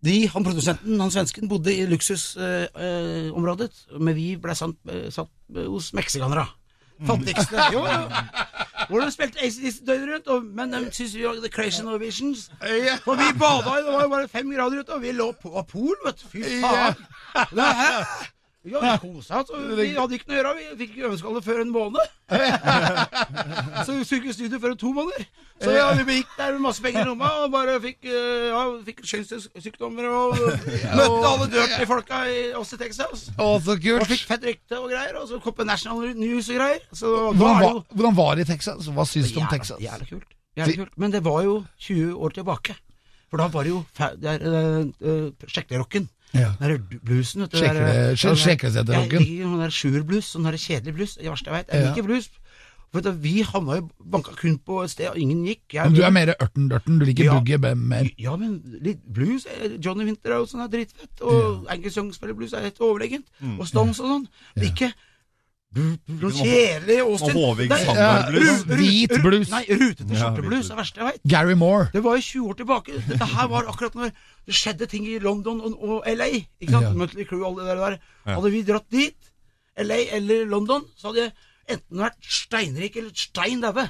Speaker 4: de, Han produsenten, han svensken, bodde i luksusområdet, men vi ble satt, eh, satt eh, hos meksikanere. Fattigste. Jo, jo. Hvor de spilte ACDC døgnet rundt, og, men de syntes vi var The Crazy Norwegians. For vi bada, i- det var jo bare fem grader ute, og vi lå på av pol, vet du. Fy faen. Det er- Ja, vi kosa oss, og vi hadde ikke noe å gjøre. Vi fikk ikke øveskalle før en måned. Så vi skulle ikke i studio før om to måneder. Så ja, vi gikk der med masse penger i lomma og bare fikk, eh, ja, fikk kjønnssykdommer og møtte alle dirty folka i, oss i Texas.
Speaker 1: Å, så
Speaker 4: Og fikk
Speaker 1: kult!
Speaker 4: fett rykte og greier, og så kom på National News og greier. Så da
Speaker 1: Hvordan
Speaker 4: er det
Speaker 1: var,
Speaker 4: jo
Speaker 1: hvordan var det i Texas? Hva syns du om
Speaker 4: Jævla-
Speaker 1: Texas?
Speaker 4: Jævla kult. Jævla kult. Men det var jo 20 år tilbake. For da var det jo fa- det er, øh, øh, sjeklerocken.
Speaker 1: Ja.
Speaker 4: Den der bluesen, vet du.
Speaker 1: Sjekle-
Speaker 4: der, øh,
Speaker 1: sj-
Speaker 4: den der-
Speaker 1: sjeklesetterrocken.
Speaker 4: Jeg liker sånn der sjuerblues, sånn der kjedelig blues. Det verste jeg vet. Jeg
Speaker 1: Ja.
Speaker 4: liker blues. For vet du, vi havna jo banka kun på et sted, og ingen gikk. Jeg,
Speaker 1: Men du er mer ørten-dørten, du liker
Speaker 4: Ja.
Speaker 1: boogie bam mer.
Speaker 4: ja, men litt blues eh, Johnny Winter og sånn er dritfett. Og Angus Young spiller blues, er helt overlegent. Og Stones og sånn. Men ikke du- du- noe kjedelig Austin.
Speaker 2: Noe Håvig
Speaker 4: Nei,
Speaker 2: Sandberg-blues.
Speaker 4: ru- ru-
Speaker 1: Hvit
Speaker 4: ru-
Speaker 1: blues.
Speaker 4: Nei, rutete
Speaker 2: Ja, hvit
Speaker 4: skjorteblues. Det verste jeg veit.
Speaker 1: Gary Moore.
Speaker 4: Det var jo 20 år tilbake. Dette her var akkurat når det skjedde ting i London og, og LA. Ikke sant?
Speaker 1: Ja.
Speaker 4: Mötley Crüe og alle det der. Hadde vi dratt dit, LA eller London, så hadde jeg enten vært steinrik eller stein daue.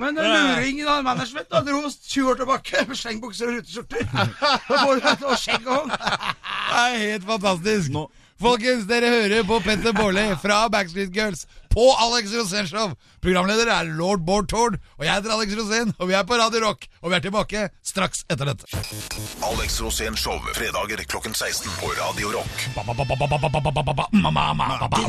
Speaker 4: Men den luringen av management da, dro oss 20 år tilbake med skjengbukser og ruteskjorter. Og både- Og skjegg og hår.
Speaker 1: Det er helt fantastisk.
Speaker 2: Nå-
Speaker 1: Folkens, dere hører på Petter Baarli fra Backstreet Girls på Alex Rosénshow. Programleder er lord Bård Tord, og jeg heter Alex Rosén, og vi er på Radio Rock. Og vi er tilbake straks etter dette.
Speaker 3: Alex Rosén Show, fredager klokken 16 på Radio Rock.
Speaker 4: This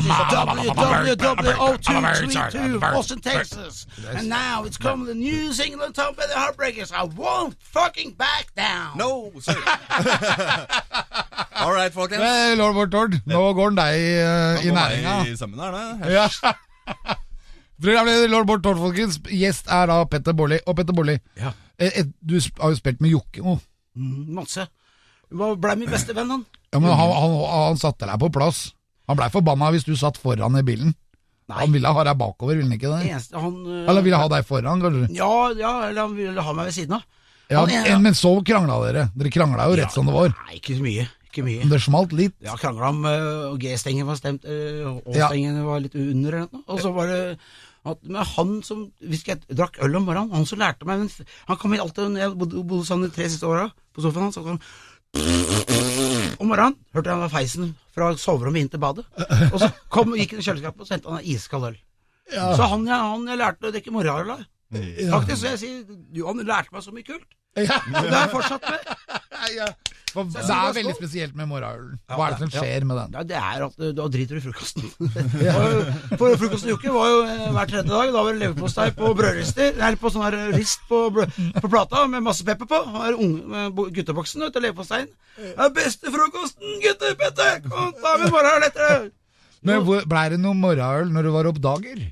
Speaker 4: is WWO232, Austin, Texas. And now it's coming the New England Top of the Heartbreakers. I won't fucking back down.
Speaker 2: No, sir. All right, folkens.
Speaker 1: Hey, lord Bård Tord, nå går den deg eh, i
Speaker 2: Nå er
Speaker 1: næringa.
Speaker 2: vi sammen her, da.
Speaker 1: Ja. Programleder Lord Bård Tord, folkens. Gjest er da Petter Baarli. Og Petter Baarli,
Speaker 4: Ja.
Speaker 1: eh, eh, du sp- har jo spilt med Jokke nå.
Speaker 4: Masse. Hva ble min beste venn, han?
Speaker 1: Ja, men han, han, han satte deg på plass. Han blei forbanna hvis du satt foran i bilen. Han ville ha deg bakover, ville han ikke det?
Speaker 4: Eneste, han øh,
Speaker 1: Eller ville ha deg foran, kanskje?
Speaker 4: Ja, ja, eller han ville ha meg ved siden av.
Speaker 1: Ja,
Speaker 4: Han ene-
Speaker 1: en- men så krangla dere. Dere krangla jo rett som det var.
Speaker 4: Nei, ikke så mye. Ikke mye.
Speaker 1: Men det smalt litt.
Speaker 4: Ja, krangla om øh, og G-stengen var stemt øh, og
Speaker 1: Ja.
Speaker 4: Å-stengen var litt under eller noe. Og så var det at, men han som Hvis jeg drakk øl om morgenen, han som lærte meg men f- Han kom inn alltid når jeg bodde, bodde sammen de tre siste åra, på sofaen hans, så kom han Om morgenen hørte jeg han var feisen fra soverommet inn til badet. Og så kom, gikk han i kjøleskapet og så hentet han en iskald øl. Så han jeg, han jeg lærte å drikke morgenøl av. Faktisk, så jeg sier, jo, han lærte meg så mye kult.
Speaker 1: Ja.
Speaker 4: Og det har jeg fortsatt med.
Speaker 1: For Det er veldig spesielt med morgenølen. Hva er det som skjer med den?
Speaker 4: Ja, det er at eh, da driter du i frokosten. Og For frokosten i uke var jo eh, hver tredje dag. Da var det leverpostei på brødrister. Eller på sånn her eh, rist på, brø- på plata med masse pepper på. Og her unge, med bo- gutteboksen ute av leverposteien. Det er beste frokosten, gutter, Petter! Kom, ta med morgenøl etter!
Speaker 1: Men hvor- blei det noe morgenøl når du var oppdager?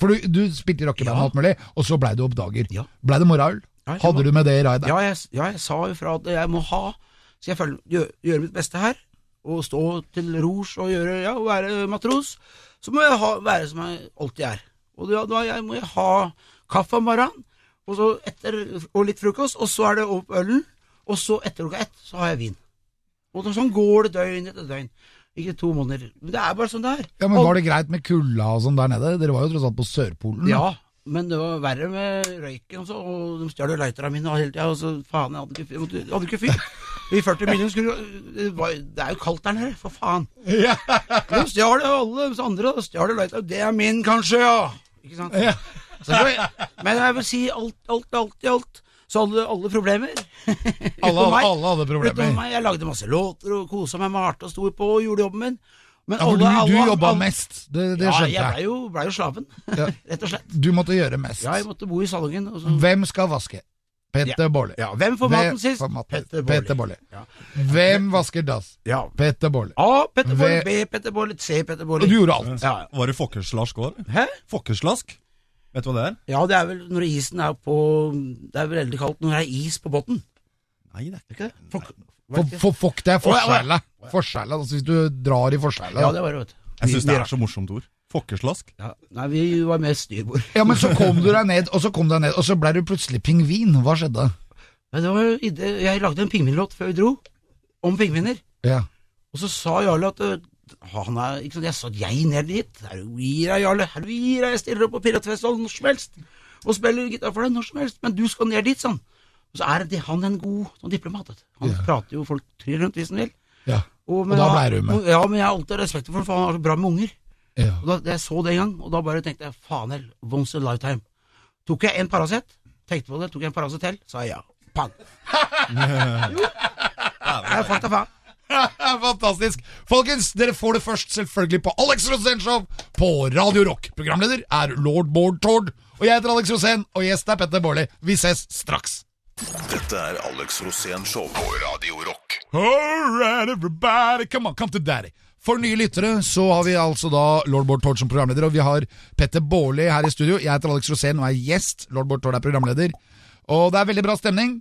Speaker 1: For du, du spilte i rockeband og alt mulig, og så blei du oppdager.
Speaker 4: Ja.
Speaker 1: Blei det morgenøl?
Speaker 4: Ja, det
Speaker 1: Hadde
Speaker 4: var-
Speaker 1: du med det i raidet?
Speaker 4: Ja, jeg, ja, jeg sa jo fra at jeg må ha Skal jeg følge, gjøre, gjøre mitt beste her Og stå til rors og gjøre Ja, og være matros Så må jeg ha, være som jeg alltid er Og da, da jeg, må jeg ha kaffe om morgenen Og så etter Og litt frokost Og så er det opp ølen Og så etter klokka ett Så har jeg vin Og da, sånn går det døgn etter døgn Ikke to måneder Men det er bare sånn det er
Speaker 1: Ja, men
Speaker 4: Og-
Speaker 1: Var det greit med kulda og sånn der nede? Dere var jo tross alt på Sørpolen.
Speaker 4: Ja, men det var verre altså, med røyken også, og de stjal jo lighterne mine og hele tida, og så faen, jeg hadde ikke fyr. Jeg måtte- jeg hadde ikke fyr. I 40 millioner skulle det, var, det er jo kaldt der nede, for faen.
Speaker 1: Ja.
Speaker 4: De stjal jo alle de andre. da Stjal jo Lighthouse. Det er min, kanskje, ja. Ikke sant? Så det var, men jeg vil si alt, alt, alt i alt. Så alle, alle problemer.
Speaker 1: Alle,
Speaker 4: Utenom meg.
Speaker 1: alle hadde
Speaker 4: Utenom
Speaker 1: problemer.
Speaker 4: meg. Jeg lagde masse låter og kosa meg med hardt og sto på og gjorde jobben min. Men
Speaker 1: Ja, for du, du jobba mest, det, det
Speaker 4: Ja,
Speaker 1: skjønte
Speaker 4: jeg
Speaker 1: jeg.
Speaker 4: blei jo, ble jo slaven,
Speaker 1: Ja.
Speaker 4: rett og slett.
Speaker 1: Du måtte gjøre mest.
Speaker 4: Ja, jeg måtte bo i salongen. Og så...
Speaker 1: Hvem skal vaske? Petter Baarli.
Speaker 4: Ja, hvem får maten
Speaker 1: Hvem
Speaker 4: sist?
Speaker 1: får maten?
Speaker 4: Petter Baarli.
Speaker 1: Petter Baarli.
Speaker 4: Ja.
Speaker 1: Hvem vasker dass?
Speaker 4: Ja.
Speaker 1: Petter Baarli.
Speaker 4: A. Petter Baarli,
Speaker 1: Ve-
Speaker 4: B. Petter Baarli, C. Petter
Speaker 1: Og du
Speaker 4: Baarli.
Speaker 1: gjorde alt.
Speaker 4: Ja, ja.
Speaker 2: Var det fokkeslask òg?
Speaker 4: Hæ?
Speaker 2: Fokkeslask? Vet du hva det er?
Speaker 4: Ja, det er vel når isen er på Det er vel veldig kaldt når det er is på bunnen.
Speaker 2: Nei, det er ikke det.
Speaker 4: Fuck.
Speaker 1: For, for fuck, det er
Speaker 4: Å, ja, å,
Speaker 1: forskjella. Forskjella, altså Hvis du drar i forskjella.
Speaker 4: Ja, det var det, vet du.
Speaker 2: Jeg syns det er så morsomt ord. Fokkeslask.
Speaker 4: Ja. Nei, vi var mer styrbord.
Speaker 1: Ja, men så kom du deg ned, og så kom du deg ned, og så blei du plutselig pingvin. Hva skjedde?
Speaker 4: Men det var jo idé. Jeg lagde en pingvinlåt før vi dro, om pingviner.
Speaker 1: Ja.
Speaker 4: Og så sa Jarle at øh, han er, ikke sant, Jeg sa at jeg ned dit. Er du gir deg, Jarle? Er du gir deg? Jeg stiller opp på Piratfestivalen når som helst og spiller gitar for deg når som helst, men du skal ned dit, sa han. Og så er det, han en god sånn diplomat. vet du. Han prater jo folk tryr rundt hvis han vil.
Speaker 1: ja.
Speaker 4: men
Speaker 1: da
Speaker 4: jeg-
Speaker 1: ble du med.
Speaker 4: Ja, men jeg har alltid respekt for ham, for han er så bra med unger.
Speaker 1: ja.
Speaker 4: Og da, jeg så det en gang, og da bare tenkte jeg faen heller, once a lifetime. Tok jeg en Paracet, tenkte på det, tok jeg en Paracet til, sa jeg ja. Pang. jo. Jeg fant det faen.
Speaker 1: Fantastisk. Folkens, dere får det først selvfølgelig på Alex Rosén Show på Radio Rock. Programleder er lord Bård Tord. Og jeg heter Alex Rosén, og gjest er Petter Baarli. Vi ses straks.
Speaker 3: Dette er Alex Rosén Show på Radio Rock.
Speaker 1: Alright, everybody, come on, come to daddy. For nye lyttere så har vi altså da Lord Bård Tord som programleder, og vi har Petter Baarli her i studio. Jeg heter Alex Rosén og er gjest. Lord Bård Tord er programleder. Og det er veldig bra stemning.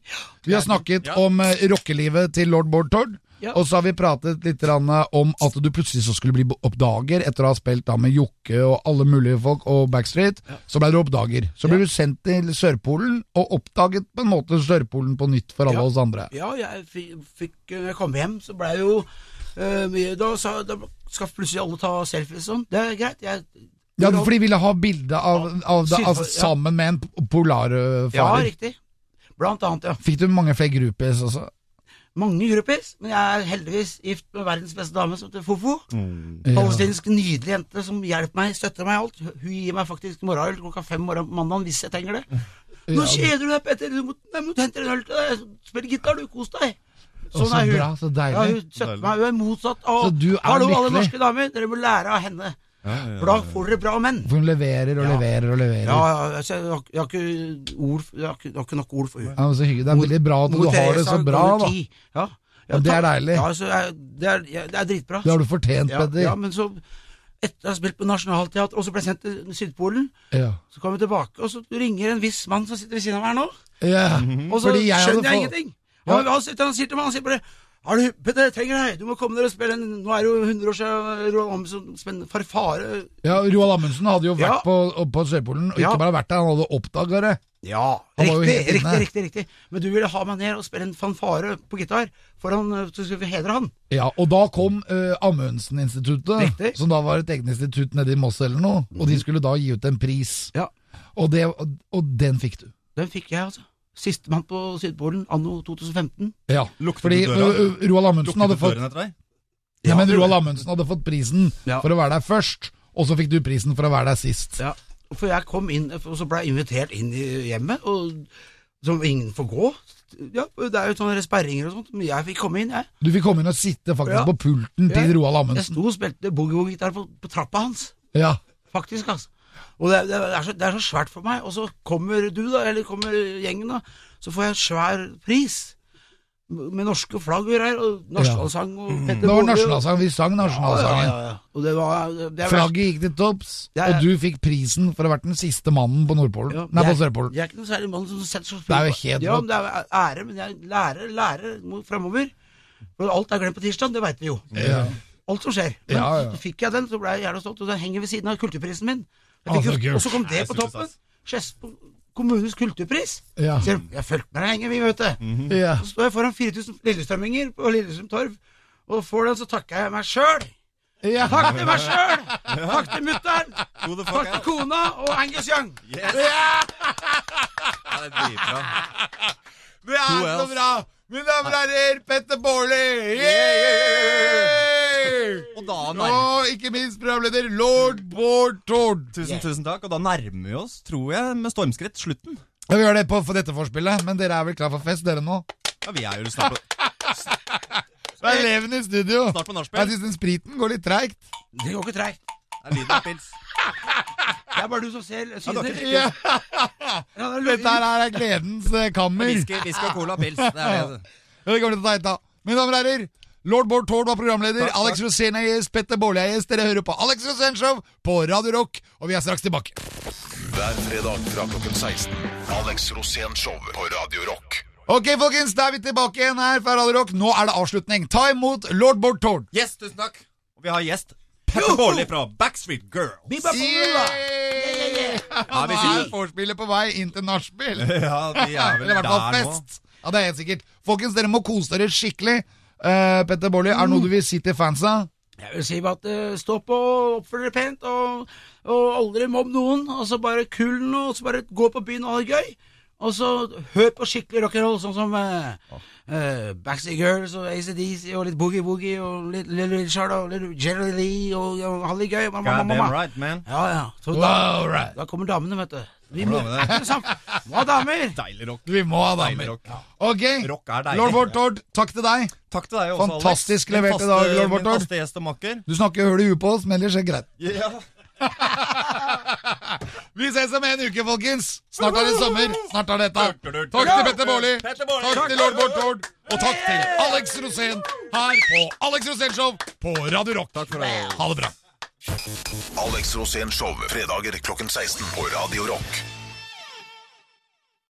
Speaker 1: Vi har snakket om eh, rockelivet til lord Bård Tord.
Speaker 4: Ja.
Speaker 1: Og så har vi pratet litt grann, eh, om at du plutselig så skulle bli oppdager etter å ha spilt da med Jokke og alle mulige folk og Backstreet. Så ble du oppdager. Så ble du sendt til Sørpolen og oppdaget på en måte Sørpolen på nytt for alle
Speaker 4: Ja.
Speaker 1: oss andre.
Speaker 4: Ja, jeg fikk, fikk eh, Når jeg kom hjem, så blei jo eh, mye Da, sa, da skal plutselig alle ta selfies og sånn. Det er greit. Jeg,
Speaker 1: Ja, for de ville ha bilde av, av det,
Speaker 4: Sydfor-
Speaker 1: altså,
Speaker 4: ja.
Speaker 1: sammen med en p-
Speaker 4: ja,
Speaker 1: polarfarer.
Speaker 4: riktig. Blant annet, ja.
Speaker 1: Fikk du mange flere groupies også?
Speaker 4: Mange groupies, men jeg er heldigvis gift med verdens beste dame, som heter Fofo.
Speaker 1: Ja.
Speaker 4: Palestinsk nydelig jente som hjelper meg, støtter meg i alt. Hun gir meg faktisk morgenøl klokka fem morgen på mandagen hvis jeg trenger det. Nå kjeder du deg, Petter. Du må, nei, men du henter en øl til deg. Spill gitar, du. Kos deg.
Speaker 1: Å, så bra, så
Speaker 4: Ja,
Speaker 1: deilig.
Speaker 4: sånn hun støtter meg. Hun er motsatt av
Speaker 1: Så du er
Speaker 4: Hallo, alle
Speaker 1: lykkelig.
Speaker 4: norske damer. Dere må lære av henne. For da får dere bra menn.
Speaker 1: For hun leverer og
Speaker 4: Ja.
Speaker 1: leverer og leverer.
Speaker 4: Ja,
Speaker 1: Ja,
Speaker 4: ja, altså, jeg, har, jeg, har ikke ord, jeg, har ikke, jeg har ikke nok ord for henne.
Speaker 1: men så hyggelig. Det er veldig bra at du
Speaker 4: Mor
Speaker 1: har det
Speaker 4: Teresa
Speaker 1: så bra,
Speaker 4: ganger
Speaker 1: da.
Speaker 4: ti. Ja. Ja,
Speaker 1: Og det er
Speaker 4: takk.
Speaker 1: deilig.
Speaker 4: Ja, altså, jeg, det, er, jeg, det er dritbra.
Speaker 1: Det har du fortjent,
Speaker 4: ja, ja,
Speaker 1: Petter.
Speaker 4: men så Etter jeg har spilt på Nationaltheatret, og så ble jeg sendt til Sydpolen,
Speaker 1: Ja.
Speaker 4: så kom jeg tilbake, og så ringer en viss mann som sitter ved siden av meg her nå,
Speaker 1: Ja.
Speaker 4: Mhm. Mm. og så
Speaker 1: Fordi jeg hadde
Speaker 4: skjønner jeg
Speaker 1: fått-
Speaker 4: ingenting.
Speaker 1: Ja.
Speaker 4: Han, han, sitter, han sier til meg, han sier bare har du, Petter, jeg trenger deg, du må komme ned og spille en Nå er det jo 100 år siden Roald Amundsen spilte Farfare
Speaker 1: Ja, Roald Amundsen hadde jo vært
Speaker 4: Ja.
Speaker 1: på, på Sørpolen, og ikke
Speaker 4: Ja.
Speaker 1: bare vært der, han hadde oppdaga det.
Speaker 4: Ja,
Speaker 1: Han var jo
Speaker 4: riktig,
Speaker 1: helt inne.
Speaker 4: riktig, riktig, riktig. Men du ville ha meg ned og spille en fanfare på gitar, for han, øh, så skulle vi hedre han.
Speaker 1: Ja, Og da kom eh, Amundsen-instituttet,
Speaker 4: Riktig. Mhm.
Speaker 1: som da var et eget institutt nede i Moss eller noe, og de skulle da gi ut en pris.
Speaker 4: Ja.
Speaker 1: Og, det, og, og den fikk du.
Speaker 4: Den fikk jeg, altså. Sistemann på Sydpolen anno 2015.
Speaker 1: Ja,
Speaker 2: Luktet
Speaker 1: fordi
Speaker 2: du døra?
Speaker 1: ø, ø, Roald Amundsen hadde
Speaker 2: Lukket
Speaker 1: fått
Speaker 2: døren etter deg?
Speaker 1: ja, men Roald Amundsen hadde fått prisen
Speaker 4: Ja.
Speaker 1: for å være der først, og så fikk du prisen for å være der sist.
Speaker 4: Ja, for jeg kom inn, eh, og så ble jeg invitert inn i hjemmet, og som ingen får gå. Ja, det er jo sånne sperringer og sånt, men jeg fikk komme inn, jeg.
Speaker 1: Du fikk komme inn og sitte faktisk
Speaker 4: Ja.
Speaker 1: på pulten til
Speaker 4: Ja.
Speaker 1: Roald
Speaker 4: Jeg
Speaker 1: Amundsen.
Speaker 4: sto og spilte boogie-woogie-gitar på, på trappa hans,
Speaker 1: Ja.
Speaker 4: faktisk, altså. Og det, det, er så, det er så svært for meg, og så kommer du da, eller kommer gjengen da, så får jeg en svær pris. Med norske flagg og greier, og nasjonalsang og Petter
Speaker 1: Det var
Speaker 4: Bolle og-
Speaker 1: nasjonalsang, vi sang
Speaker 4: Ja, ja,
Speaker 1: nasjonalsangen.
Speaker 4: ja, ja. Og det var det, det er verst.
Speaker 1: Flagget gikk til topps,
Speaker 4: Ja, ja.
Speaker 1: og du fikk prisen for å ha vært den siste mannen på Nordpolen.
Speaker 4: Ja,
Speaker 1: Nei, på
Speaker 4: jeg-
Speaker 1: Sørpolen.
Speaker 4: Jeg er ikke noen særlig mann som setter så
Speaker 1: Det er jo
Speaker 4: på-
Speaker 1: helt
Speaker 4: Ja,
Speaker 1: rått.
Speaker 4: men det er ære, men jeg lærer, lærer framover. For alt er glemt på tirsdag, det veit vi jo.
Speaker 1: Ja.
Speaker 4: Alt som skjer. Men
Speaker 1: Ja, ja.
Speaker 4: så fikk jeg den, så ble jeg jævla stolt, og den henger ved siden av kulturprisen min. Jeg
Speaker 1: Ah,
Speaker 4: fikk,
Speaker 1: så
Speaker 4: jo-
Speaker 1: kult.
Speaker 4: og så kom det
Speaker 2: Nei,
Speaker 4: på
Speaker 2: super
Speaker 4: toppen.
Speaker 2: stas.
Speaker 4: Skedsmo kommunes kulturpris.
Speaker 1: Ja.
Speaker 4: Sier de, jeg fulgte med deg lenge, vi, vet du.
Speaker 1: Ja.
Speaker 4: Så står jeg foran 4000 lillestrømminger på Lillestrøm Torv, og får den, så takker jeg meg sjøl.
Speaker 1: Ja.
Speaker 4: Takk til meg sjøl! Takk til mutter'n!
Speaker 2: Who the fuck
Speaker 4: Takk til kona og Angus Young!
Speaker 2: Yes! Ja, det er dritbra.
Speaker 1: Det er
Speaker 2: Who
Speaker 1: så
Speaker 2: else?
Speaker 1: bra! Mine damer og herrer, Petter Baarli! Yeah!
Speaker 2: Og da nærmer
Speaker 1: Og ikke minst programleder lord Bård Tord.
Speaker 2: Tusen, tusen takk. Og da nærmer vi oss, tror jeg, med stormskritt slutten.
Speaker 1: Ja, vi gjør det på for dette forspillet, men dere er vel klar for fest, dere nå?
Speaker 2: Ja, vi er jo snart på,
Speaker 1: Det er eleven i studio.
Speaker 2: snart på
Speaker 1: Jeg
Speaker 2: nachspiel.
Speaker 1: syns den spriten går litt treigt.
Speaker 4: Det går ikke treigt.
Speaker 2: Det er lyden av pils.
Speaker 4: Det er bare du som ser
Speaker 2: dere-
Speaker 4: syner.
Speaker 1: Ja,
Speaker 4: Ja, det er løgn.
Speaker 1: dette her er gledens eh, kammer.
Speaker 2: Whisky, whisky og cola og pils. Det er det.
Speaker 1: Det kommer til å ta henta. Mine damer og herrer, lord Bård Tord var programleder.
Speaker 2: Takk, takk.
Speaker 1: Alex Rosén er gjest. Petter Baarli er gjest. Dere hører på Alex Rosén Show på Radio Rock, og vi er straks tilbake.
Speaker 3: Hver fredag fra klokken 16. Alex Rosén Show på Radio Rock.
Speaker 1: Ok, folkens, da er vi tilbake igjen her fra Radio Rock. Nå er det avslutning. Ta imot lord Bård Tord.
Speaker 2: Yes, tusen takk. Og vi har gjest Petter Baarli fra Backstreet Girls.
Speaker 4: Bibba bobba.
Speaker 2: Ja, vi
Speaker 1: Nå
Speaker 2: sier-
Speaker 1: er vorspielet på vei inn til nachspiel.
Speaker 2: Ja, de er
Speaker 1: Eller i hvert fall fest. Ja, det er helt sikkert. Folkens, dere må kose dere skikkelig. Eh, Petter Baarli, er det noe du vil si til fansa?
Speaker 4: Jeg vil si bare at eh, stå på og oppfør dere pent, og, og aldri mobb noen. Og så bare kull noe, og så bare gå på byen og ha det gøy. Og så hør på skikkelig rock'n'roll, sånn som eh, eh, Backstreet Girls og ACDC og litt Boogie Woogie og litt Little Richard og litt Jerry Lee og, og ha det gøy. Mamma,
Speaker 2: God
Speaker 4: mamma,
Speaker 2: damn
Speaker 4: mamma.
Speaker 2: right, man.
Speaker 4: Ja, ja. Så da,
Speaker 1: Wow, right.
Speaker 4: da kommer damene, vet du. Vi må
Speaker 2: Kommer damene.
Speaker 4: er ikke det samme. Hva damer?
Speaker 2: Deilig rock.
Speaker 1: Vi må ha
Speaker 2: Deilig
Speaker 1: damer.
Speaker 2: rock.
Speaker 1: Ok,
Speaker 2: Rock er deilig.
Speaker 1: Lord Bård Tord, takk til deg.
Speaker 2: Takk til deg også, Alex.
Speaker 1: Fantastisk
Speaker 2: Min
Speaker 1: levert i
Speaker 2: faste-
Speaker 1: dag, Lord
Speaker 2: Min
Speaker 1: Barthold.
Speaker 2: faste gjest og makker.
Speaker 1: Du snakker høl i huet på oss, men ellers er det greit.
Speaker 2: Ja.
Speaker 1: Vi ses om en uke, folkens. Snart er det sommer. Snart er dette. Takk til Petter Baarli.
Speaker 2: Petter Baarli.
Speaker 1: Takk til lord Bård Tord. Og takk til Alex Rosén her på Alex Rosén Show på Radio Rock. Takk for Ha det bra.
Speaker 3: Alex Rosén Show fredager klokken 16 på Radio Rock.